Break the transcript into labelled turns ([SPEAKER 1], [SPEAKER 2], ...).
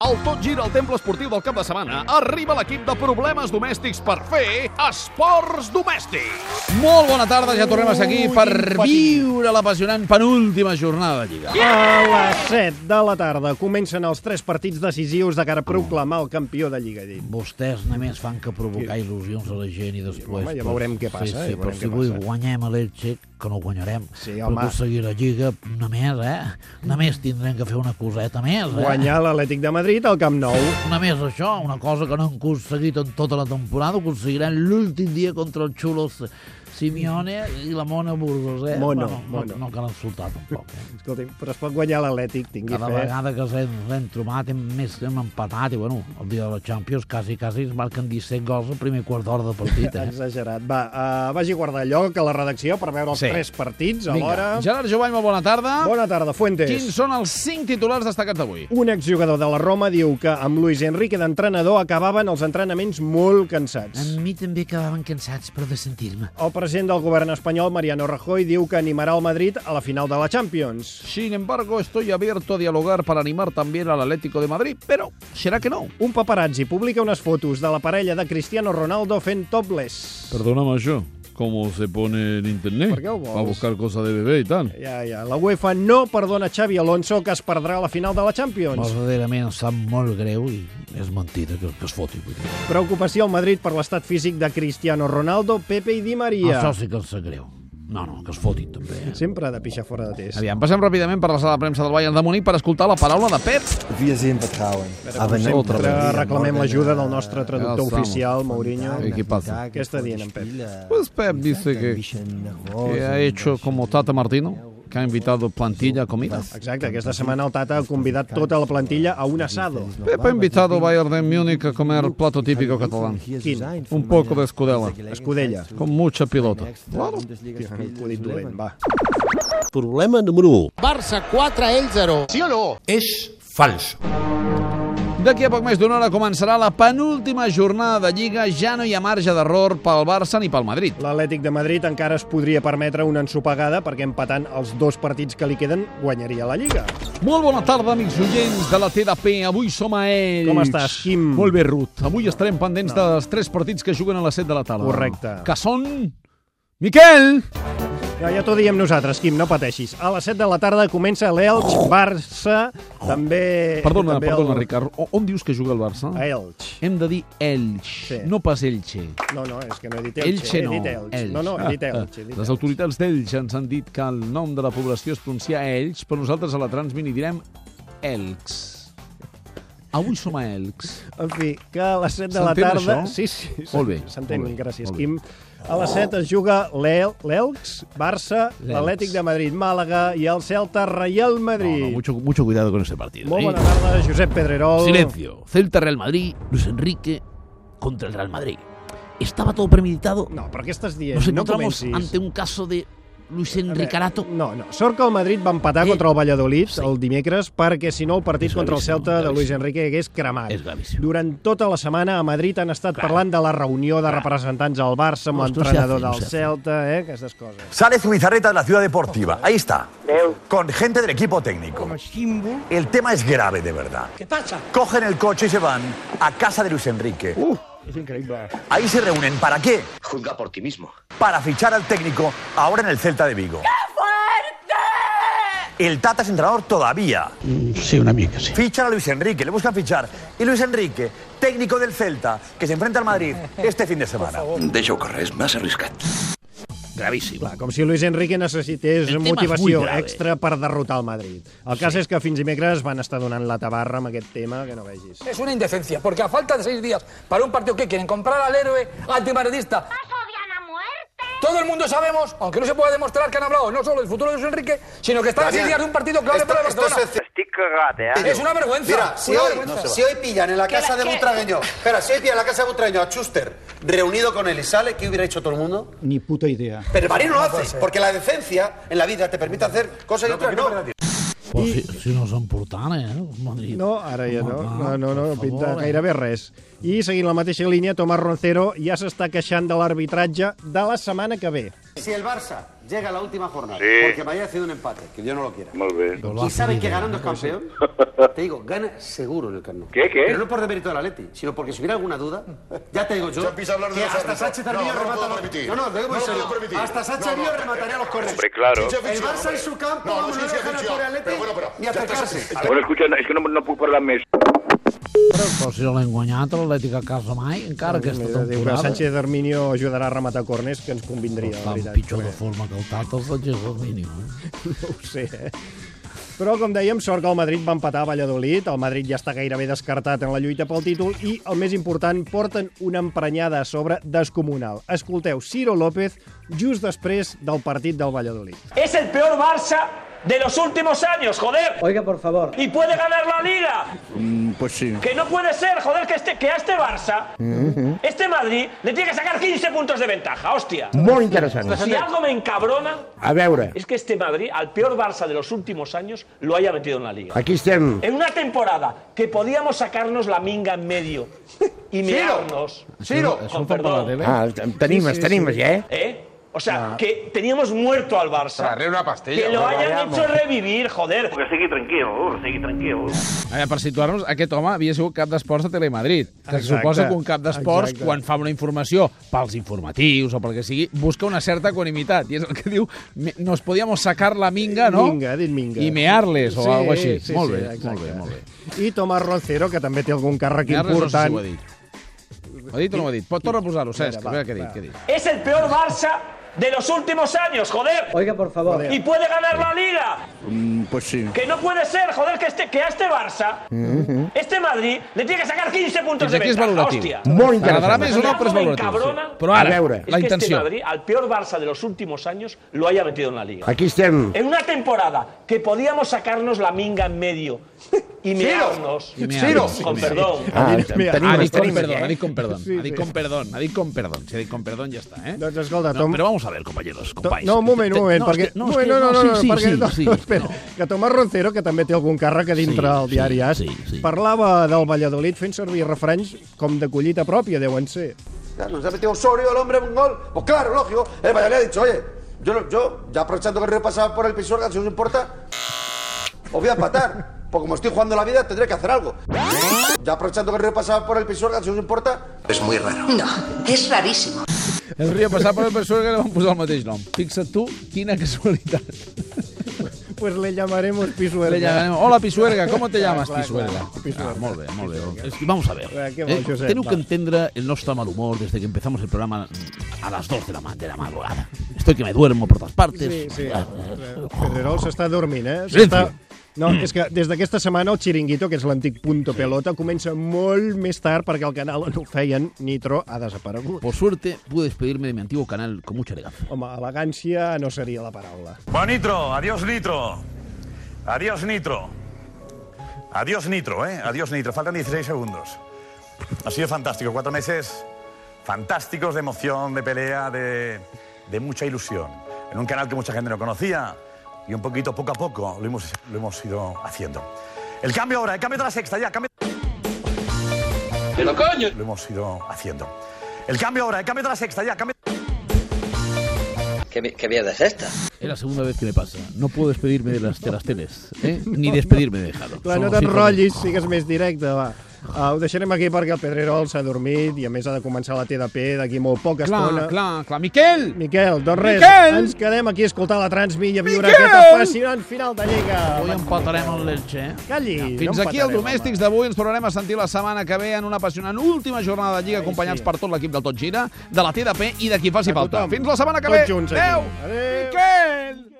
[SPEAKER 1] Al Tot Gira al Temple Esportiu del cap de setmana arriba l'equip de problemes domèstics per fer esports domèstics.
[SPEAKER 2] Molt bona tarda, ja tornem a ser aquí per viure l'apassionant penúltima jornada de Lliga.
[SPEAKER 3] A les 7 de la tarda comencen els tres partits decisius de cara a proclamar el campió de Lliga. he dit.
[SPEAKER 4] Vostès només fan que provocar il·lusions a la gent i després...
[SPEAKER 3] Home, ja veurem què passa, eh,
[SPEAKER 4] Sí,
[SPEAKER 3] ja
[SPEAKER 4] sí, però
[SPEAKER 3] veurem
[SPEAKER 4] si
[SPEAKER 3] què
[SPEAKER 4] avui
[SPEAKER 3] passa.
[SPEAKER 4] guanyem a l'Elche, que no guanyarem,
[SPEAKER 3] Sí,
[SPEAKER 4] per
[SPEAKER 3] home.
[SPEAKER 4] aconseguir la Lliga, només, eh? Només tindrem que fer una coseta més, eh?
[SPEAKER 3] Guanyar l'Atlètic de Madrid al Camp Nou.
[SPEAKER 4] Només això, una cosa que no hem aconseguit en tota la temporada, ho aconseguirem l'últim dia contra el Xulos Simeone i la Mona Burgos, eh?
[SPEAKER 3] Mono,
[SPEAKER 4] Bueno,
[SPEAKER 3] mono.
[SPEAKER 4] No, no cal insultar, tampoc, eh?
[SPEAKER 3] Escolti, però es pot guanyar l'Atlètic, tingui
[SPEAKER 4] Cada
[SPEAKER 3] fe.
[SPEAKER 4] vegada que s'hem s'hem trobat hem, més, hem empatat i, bueno, el dia de la Champions quasi, quasi es marquen 17 gols al primer quart d'hora de partit, eh?
[SPEAKER 3] Exagerat. Va, uh, vagi a guardar lloc a la redacció per veure els
[SPEAKER 2] Sí.
[SPEAKER 3] tres partits a l'hora.
[SPEAKER 2] Gerard Jovany, molt bona tarda.
[SPEAKER 3] Bona tarda, Fuentes.
[SPEAKER 2] Quins són els cinc titulars destacats d'avui?
[SPEAKER 3] Un exjugador de la Roma diu que amb Luis Enrique d'entrenador acabaven els entrenaments molt cansats.
[SPEAKER 4] A mi també acabaven cansats, però de sentir-me.
[SPEAKER 3] El president del govern espanyol, Mariano Rajoy, diu que animarà el Madrid a la final de la Champions.
[SPEAKER 2] Sin embargo, estoy abierto a dialogar para animar también al Atlético de Madrid, pero será que no.
[SPEAKER 3] Un paparazzi publica unes fotos de la parella de Cristiano Ronaldo fent topless.
[SPEAKER 5] Perdóname yo, cómo se pone en internet
[SPEAKER 3] ¿Por qué vos?
[SPEAKER 5] para buscar cosas de bebé y tal.
[SPEAKER 3] Ja, ja. La UEFA no perdona Xavi Alonso, que es perdrà la final de la Champions.
[SPEAKER 4] Verdaderament em sap molt greu i és mentida que, que es foti. Vull dir.
[SPEAKER 3] Preocupació al Madrid per l'estat físic de Cristiano Ronaldo, Pepe i Di Maria.
[SPEAKER 4] Això sí que em sap greu. No, no, que es fotin també. Eh?
[SPEAKER 3] Sempre ha de pixar fora de test.
[SPEAKER 2] Aviam, passem ràpidament per la sala de premsa del Bayern de Múnich per escoltar la paraula de Pep.
[SPEAKER 6] Wir sehen Vertrauen.
[SPEAKER 2] com
[SPEAKER 6] nicht
[SPEAKER 2] sempre,
[SPEAKER 6] Vertrauen.
[SPEAKER 3] reclamem l'ajuda del nostre traductor
[SPEAKER 2] Ja estamos.
[SPEAKER 3] oficial, Mourinho.
[SPEAKER 2] Equipazo.
[SPEAKER 3] Què està dient en Pep?
[SPEAKER 2] Pues Pep dice que, que ha hecho como Tata Martino, que ha invitado plantilla a comidas.
[SPEAKER 3] Exacte, aquesta setmana el Tata ha convidat tota la plantilla a un asado.
[SPEAKER 2] Pep ha invitado a Bayern de Múnich a comer plato típico catalán.
[SPEAKER 6] Quin?
[SPEAKER 2] Un poco de escudela,
[SPEAKER 3] Escudella.
[SPEAKER 2] con mucha pilota.
[SPEAKER 6] Claro.
[SPEAKER 3] Acudit dolent, va.
[SPEAKER 7] Problema número 1.
[SPEAKER 8] Barça 4, ell 0. Sí o no?
[SPEAKER 7] És fals.
[SPEAKER 2] D'aquí a poc més d'una hora començarà la penúltima jornada de Lliga. Ja no hi ha marge d'error pel Barça ni pel Madrid.
[SPEAKER 3] L'Atlètic de Madrid encara es podria permetre una ensopegada perquè empatant els dos partits que li queden guanyaria la Lliga.
[SPEAKER 2] Molt bona tarda, amics oients de la TDP. Avui som a ells.
[SPEAKER 3] Com estàs, Quim?
[SPEAKER 2] Molt bé, Ruth. Avui estarem pendents no. dels tres partits que juguen a les 7 de la tarda.
[SPEAKER 3] Correcte.
[SPEAKER 2] Que són... Miquel!
[SPEAKER 3] Ja, ja t'ho diem nosaltres, Quim, no pateixis. A les 7 de la tarda comença l'Elx, Barça, també...
[SPEAKER 2] Perdona,
[SPEAKER 3] també
[SPEAKER 2] perdona,
[SPEAKER 3] el...
[SPEAKER 2] Ricard. O- On dius que juga el Barça?
[SPEAKER 3] A Elx.
[SPEAKER 2] Hem de dir Elx,
[SPEAKER 3] Sí.
[SPEAKER 2] no pas Elche.
[SPEAKER 3] No, no, és que no he dit Elx.
[SPEAKER 2] Elche no,
[SPEAKER 3] He dit Elx.
[SPEAKER 2] Elx.
[SPEAKER 3] No, no, he dit
[SPEAKER 2] Ah,
[SPEAKER 3] Elx. He
[SPEAKER 2] ah.
[SPEAKER 3] dit
[SPEAKER 2] Les
[SPEAKER 3] Elx.
[SPEAKER 2] autoritats d'Elx ens han dit que el nom de la població es pronuncia Elx, però nosaltres a la Transmini direm Elx. Avui som a Elx.
[SPEAKER 3] En fi, que a les 7 de la
[SPEAKER 2] S'entén,
[SPEAKER 3] tarda...
[SPEAKER 2] això?
[SPEAKER 3] Sí, sí,
[SPEAKER 2] Molt bé,
[SPEAKER 3] S'entén,
[SPEAKER 2] molt bé,
[SPEAKER 3] gràcies,
[SPEAKER 2] molt bé.
[SPEAKER 3] Quim. A les 7 es juga l'El- l'Elx, Barça, l'Atlètic de Madrid, Màlaga i el Celta, Reial Madrid.
[SPEAKER 4] No, no, mucho, mucho cuidado con ese partido.
[SPEAKER 3] Molt
[SPEAKER 4] ¿eh?
[SPEAKER 3] bona tarda, Josep Pedrerol.
[SPEAKER 4] Silencio. Celta Real Madrid, Luis Enrique contra el Real Madrid. Estaba todo premeditado.
[SPEAKER 3] No, però què estàs dient?
[SPEAKER 4] Nos
[SPEAKER 3] no
[SPEAKER 4] encontramos
[SPEAKER 3] comencis.
[SPEAKER 4] ante un caso de Luis
[SPEAKER 3] A veure,
[SPEAKER 4] Enrique Arato.
[SPEAKER 3] No, no. Sort que el Madrid va empatar
[SPEAKER 4] Eh,
[SPEAKER 3] contra el Valladolid
[SPEAKER 4] sí.
[SPEAKER 3] el dimecres perquè, si no, el partit
[SPEAKER 4] És
[SPEAKER 3] contra el
[SPEAKER 4] gravíssim,
[SPEAKER 3] Celta de
[SPEAKER 4] gravíssim.
[SPEAKER 3] Luis Enrique hagués cremat.
[SPEAKER 4] És gravíssim.
[SPEAKER 3] Durant tota la setmana a Madrid han estat parlant de la reunió de representants del Barça amb
[SPEAKER 4] No, esto se
[SPEAKER 3] l'entrenador
[SPEAKER 4] hace, no
[SPEAKER 3] del
[SPEAKER 4] se hace.
[SPEAKER 3] Celta, eh? aquestes coses.
[SPEAKER 9] Sale Zubizarreta de la Ciudad Deportiva. Ahí está. Con gente del equipo técnico. El tema es grave, de verdad. ¿Qué pasa? Cogen el coche y se van a casa de Luis Enrique. Ahí se reúnen. ¿Para qué?
[SPEAKER 8] Juzga por ti mismo.
[SPEAKER 9] Para fichar al técnico ahora en el Celta de Vigo. El Tata es entrenador todavía.
[SPEAKER 4] Sí, una amiga, sí.
[SPEAKER 9] Fichan a Luis Enrique, le buscan fichar. Y Luis Enrique, técnico del Celta, que se enfrenta al Madrid este fin de semana.
[SPEAKER 8] Deixa-ho córrer, és massa arriscat.
[SPEAKER 4] Gravísimo.
[SPEAKER 3] Clar, com si Luis Enrique necessités
[SPEAKER 4] El tema és
[SPEAKER 3] motivació
[SPEAKER 4] muy grave.
[SPEAKER 3] extra per derrotar el Madrid. El cas és que fins dimecres van estar donant la tabarra amb aquest tema, que no vegis.
[SPEAKER 10] Es una indecencia, porque a falta de seis días para un partido que quieren comprar al héroe antimadridista. Todo el mundo sabemos, aunque no se pueda demostrar que han hablado no solo del futuro de Luis Enrique, sino que están a seis días de un partido clave para el Barcelona.
[SPEAKER 9] Eh,
[SPEAKER 10] Es una vergüenza.
[SPEAKER 8] Mira, si
[SPEAKER 10] una
[SPEAKER 8] hoy,
[SPEAKER 10] vergüenza.
[SPEAKER 8] si hoy pillan en la casa de Butragueño, espera, si hoy pillan en la casa de Butragueño a Schuster reunido con Elizalde, ¿qué hubiera hecho todo el mundo?
[SPEAKER 6] Ni puta idea.
[SPEAKER 8] Pero el Madrid no lo hace, porque la decencia en la vida te permite hacer cosas y otras no.
[SPEAKER 4] Pues si, si no són portant, eh? el Madrid.
[SPEAKER 3] No, ara ja no. No,
[SPEAKER 4] Home,
[SPEAKER 3] no, no,
[SPEAKER 4] per
[SPEAKER 3] pinta
[SPEAKER 4] favor, eh?
[SPEAKER 3] gairebé res. I seguint la mateixa línia, Tomás Roncero ja s'està queixant de l'arbitratge de la setmana que ve.
[SPEAKER 8] Si el Barça llega a la última jornada,
[SPEAKER 11] Sí.
[SPEAKER 8] porque me haya sido un empate, que yo no lo quiera,
[SPEAKER 11] Molt bé.
[SPEAKER 8] y sabe que ganando es campeón, te digo, gana seguro en el Camp Nou.
[SPEAKER 11] ¿Qué, qué?
[SPEAKER 8] Pero no por demérito del Atleti, sino porque si hubiera alguna duda, ya te digo yo,
[SPEAKER 11] Ya empieza a hablar de
[SPEAKER 8] que
[SPEAKER 11] los
[SPEAKER 8] hasta
[SPEAKER 11] árbitros.
[SPEAKER 8] Sánchez
[SPEAKER 11] No,
[SPEAKER 8] Armillo
[SPEAKER 11] no lo
[SPEAKER 8] remata
[SPEAKER 11] puedo
[SPEAKER 8] los-
[SPEAKER 11] permitir.
[SPEAKER 8] No, no, te digo muy
[SPEAKER 11] No lo
[SPEAKER 8] serio.
[SPEAKER 11] puedo permitir.
[SPEAKER 8] Hasta Sánchez
[SPEAKER 11] No,
[SPEAKER 8] Armillo
[SPEAKER 11] no.
[SPEAKER 8] remataría los corners.
[SPEAKER 11] Hombre, claro. Sí, sí,
[SPEAKER 8] El
[SPEAKER 11] sí,
[SPEAKER 8] Barça en su campo,
[SPEAKER 11] No,
[SPEAKER 8] vamos,
[SPEAKER 11] sí,
[SPEAKER 8] no
[SPEAKER 11] sí,
[SPEAKER 8] le
[SPEAKER 11] sí,
[SPEAKER 8] gana
[SPEAKER 11] sí,
[SPEAKER 8] por el
[SPEAKER 11] sí.
[SPEAKER 8] Atleti
[SPEAKER 11] Però bueno, però
[SPEAKER 8] ni
[SPEAKER 11] ja estàs-
[SPEAKER 8] acercarse.
[SPEAKER 11] A veure, escucha, és que no, no puc parlar més.
[SPEAKER 4] Però si no l'hem guanyat, l'Atlètic a casa mai, encara aquesta
[SPEAKER 3] Diu que
[SPEAKER 4] temporada.
[SPEAKER 3] Sánchez Arminio ajudarà a rematar corners, que ens convindria, la
[SPEAKER 4] Tan
[SPEAKER 3] veritat.
[SPEAKER 4] pitjor de forma que el Tata, el Sánchez Arminio. eh?
[SPEAKER 3] No ho sé, eh? Però, com dèiem, sort que el Madrid va empatar a Valladolid. El Madrid ja està gairebé descartat en la lluita pel títol i, el més important, porten una emprenyada a sobre descomunal. Escolteu Ciro López just després del partit del Valladolid.
[SPEAKER 12] Es el peor Barça de los últimos años, joder. Oiga, por favor. Y puede ganar la liga.
[SPEAKER 6] pues sí.
[SPEAKER 12] Que no puede ser, joder, que, este, que a este Barça, este Madrid, le tiene que sacar 15 puntos de ventaja, hostia.
[SPEAKER 6] Molt interessant.
[SPEAKER 12] Si algo me encabrona
[SPEAKER 6] A veure,
[SPEAKER 12] es que este Madrid, al peor Barça de los últimos años, lo haya metido en la liga.
[SPEAKER 6] aquí estem.
[SPEAKER 12] En una temporada que podíamos sacarnos la minga en medio y mirarnos.
[SPEAKER 6] Ciro.
[SPEAKER 12] Con
[SPEAKER 6] Això ho fa
[SPEAKER 12] perdó.
[SPEAKER 6] per la tele? Ah, en tenim, Sí, sí, els tenim, sí. eh?
[SPEAKER 12] ¿Eh? O sea, que teníamos muerto al Barça.
[SPEAKER 6] Traeré una pastilla,
[SPEAKER 12] Que lo
[SPEAKER 6] hombre,
[SPEAKER 12] hayan
[SPEAKER 6] vayamos.
[SPEAKER 12] hecho revivir, joder. Porque sigue tranquilo, sigue tranquilo.
[SPEAKER 2] A veure, per situar-nos, aquest home havia sigut cap d'esports de Telemadrid, que
[SPEAKER 13] Exacte,
[SPEAKER 2] Exacte. suposa que un cap d'esports,
[SPEAKER 13] exacte.
[SPEAKER 2] quan fa una informació pels informatius o pel que sigui, busca una certa equanimitat, i és el que diu "Me- nos podíamos sacar la minga, Ah, no?
[SPEAKER 3] Minga, ha dit minga.
[SPEAKER 2] I mear-les, o
[SPEAKER 3] Sí,
[SPEAKER 2] sí, alguna així.
[SPEAKER 3] sí,
[SPEAKER 2] Sí, molt,
[SPEAKER 3] sí,
[SPEAKER 2] bé,
[SPEAKER 3] exacte.
[SPEAKER 2] molt bé, molt bé.
[SPEAKER 3] I Tomàs Roncero, que també té algun càrrec
[SPEAKER 2] Mear-les no sé si
[SPEAKER 3] important.
[SPEAKER 2] ho ha dit. Ho ha dit o no ho ha dit? Pot tornar a posar-ho, Cesc, a veure què ha dit. Què ha dit.
[SPEAKER 12] Es el peor Barça de los últimos años, joder. Oiga, por favor. Y puede ganar la liga.
[SPEAKER 6] pues sí.
[SPEAKER 12] Que no puede ser, joder, que, este, que a este Barça, este Madrid, le tiene que sacar 15
[SPEAKER 2] Fins
[SPEAKER 12] puntos de
[SPEAKER 2] aquí és
[SPEAKER 12] ventaja,
[SPEAKER 2] valoratiu.
[SPEAKER 12] hostia.
[SPEAKER 2] Molt interessant. T'agradarà més o no, però és valoratiu,
[SPEAKER 12] Cabrona,
[SPEAKER 2] sí. Però ara, A veure. la
[SPEAKER 12] es que
[SPEAKER 2] intenció.
[SPEAKER 12] Este Madrid, al peor Barça de los últimos años, lo haya metido en la liga.
[SPEAKER 6] Aquí estem.
[SPEAKER 12] En una temporada que podíamos sacarnos la minga en medio y mirarnos.
[SPEAKER 2] I mear-les.
[SPEAKER 12] Con
[SPEAKER 2] Sí,
[SPEAKER 12] perdón.
[SPEAKER 2] sí. Ah,
[SPEAKER 3] tenim-
[SPEAKER 2] ha dit con
[SPEAKER 3] tenim-
[SPEAKER 2] perdón, ha dit con perdón,
[SPEAKER 3] Sí,
[SPEAKER 2] ha dit
[SPEAKER 3] sí.
[SPEAKER 2] con perdón, ha dit con perdón. Si ha dit con perdón ja està, eh?
[SPEAKER 3] Doncs escolta,
[SPEAKER 2] no,
[SPEAKER 3] Tom-
[SPEAKER 2] Però vamos a ver, compañeros, companys.
[SPEAKER 3] No, un moment, un moment,
[SPEAKER 2] No, és
[SPEAKER 3] perquè...
[SPEAKER 2] que- no,
[SPEAKER 3] un
[SPEAKER 2] és
[SPEAKER 3] moment,
[SPEAKER 2] que-
[SPEAKER 3] no, no, no,
[SPEAKER 2] sí,
[SPEAKER 3] no,
[SPEAKER 2] sí,
[SPEAKER 3] perquè,
[SPEAKER 2] sí,
[SPEAKER 3] no,
[SPEAKER 2] sí,
[SPEAKER 3] no, espera, que Tomàs Roncero, que també té algun càrrec a dintre del diari As, parlava del Valladolid fent servir refranys com de collita pròpia, deuen ser.
[SPEAKER 8] Claro, nos ha metido Osorio, el hombre, un gol. Pues claro, lógico. El Valladolid ha dicho, oye, yo, no- yo ya aprovechando que el Río pasaba por el Pisuerga, si no os importa, os voy a empatar. Pues como estoy jugando la vida, tendré que hacer algo. Ya aprovechando que el Río pasaba por el Pisuerga, si no os importa. Es muy raro.
[SPEAKER 14] No, es rarísimo.
[SPEAKER 2] El Rio passat per el Pisuerga li E van posar el mateix nom. Fixa't tu, quina casualitat.
[SPEAKER 3] Pues le llamaremos Pisuerga.
[SPEAKER 2] Le llamarem, Hola, Pisuerga, ¿cómo te
[SPEAKER 3] Clar,
[SPEAKER 2] llamas,
[SPEAKER 3] clar,
[SPEAKER 2] Pisuerga?
[SPEAKER 3] clar, Pisuerga.
[SPEAKER 2] Ah, molt bé, molt bé. És que Vamos a ver.
[SPEAKER 3] Eh, què vol,
[SPEAKER 13] Eh,
[SPEAKER 3] Josep?
[SPEAKER 13] tengo
[SPEAKER 3] Va.
[SPEAKER 13] que entender el nuestro mal humor desde que empezamos el programa a las 2 de la, ma- de la madrugada. Estoy que me duermo por todas partes.
[SPEAKER 3] Sí, sí.
[SPEAKER 13] Ah,
[SPEAKER 3] Pedrerol s'està dormint, eh?
[SPEAKER 13] Silenci.
[SPEAKER 3] S'està- No, és que des d'aquesta setmana el Chiringuito, que és l'antic Punto Pelota, comença molt més tard perquè el canal on ho feien, Nitro, ha desaparegut.
[SPEAKER 13] Por suerte, pude despedirme de mi antiguo canal con mucha elegancia.
[SPEAKER 3] Home, elegància no seria la paraula.
[SPEAKER 9] Bueno, Nitro, adiós Nitro. Adiós Nitro. Adiós Nitro, ¿eh? Adiós Nitro. Faltan 16 segundos. Ha sido fantástico. Cuatro meses fantásticos de emoción, de pelea, de, de mucha ilusión. En un canal que mucha gente no conocía y un poquito, poco a poco, lo hemos, lo hemos ido haciendo. El cambio ahora, el cambio de la sexta, ya, cambio. coño! Lo hemos ido haciendo. El cambio ahora, el cambio de la sexta, ya, cambio.
[SPEAKER 15] ¿Qué, vi- qué mierda es esta?
[SPEAKER 13] Es la segunda vez que me pasa. No puedo despedirme de las, de las teles, ¿eh? ni despedirme de Jaro.
[SPEAKER 3] Clar, no
[SPEAKER 13] Solo
[SPEAKER 3] t'enrotllis, sigues més directe, va. Uh, ho deixarem aquí perquè el Pedrerol s'ha dormit i a més ha de començar la TDP d'aquí molt poca
[SPEAKER 2] Clar,
[SPEAKER 3] estona.
[SPEAKER 2] clar, clar. Miquel!
[SPEAKER 3] Miquel, doncs res,
[SPEAKER 2] Miquel!
[SPEAKER 3] ens quedem aquí a escoltar la Transmi i a viure
[SPEAKER 2] Miquel!
[SPEAKER 3] aquesta fascinant final de Lliga. Avui
[SPEAKER 2] empatarem el Lecce.
[SPEAKER 13] ¿eh?
[SPEAKER 3] Calli, no,
[SPEAKER 2] Fins aquí el
[SPEAKER 3] empatarem,
[SPEAKER 2] Domèstics d'avui. Ens tornarem a sentir la setmana que ve en una apassionant última jornada de Lliga acompanyats per tot l'equip del Tot Gira, de la TDP i de qui faci falta. Fins la setmana que ve.
[SPEAKER 3] Tots junts aquí.
[SPEAKER 2] Adéu!
[SPEAKER 3] Adéu!
[SPEAKER 2] Miquel!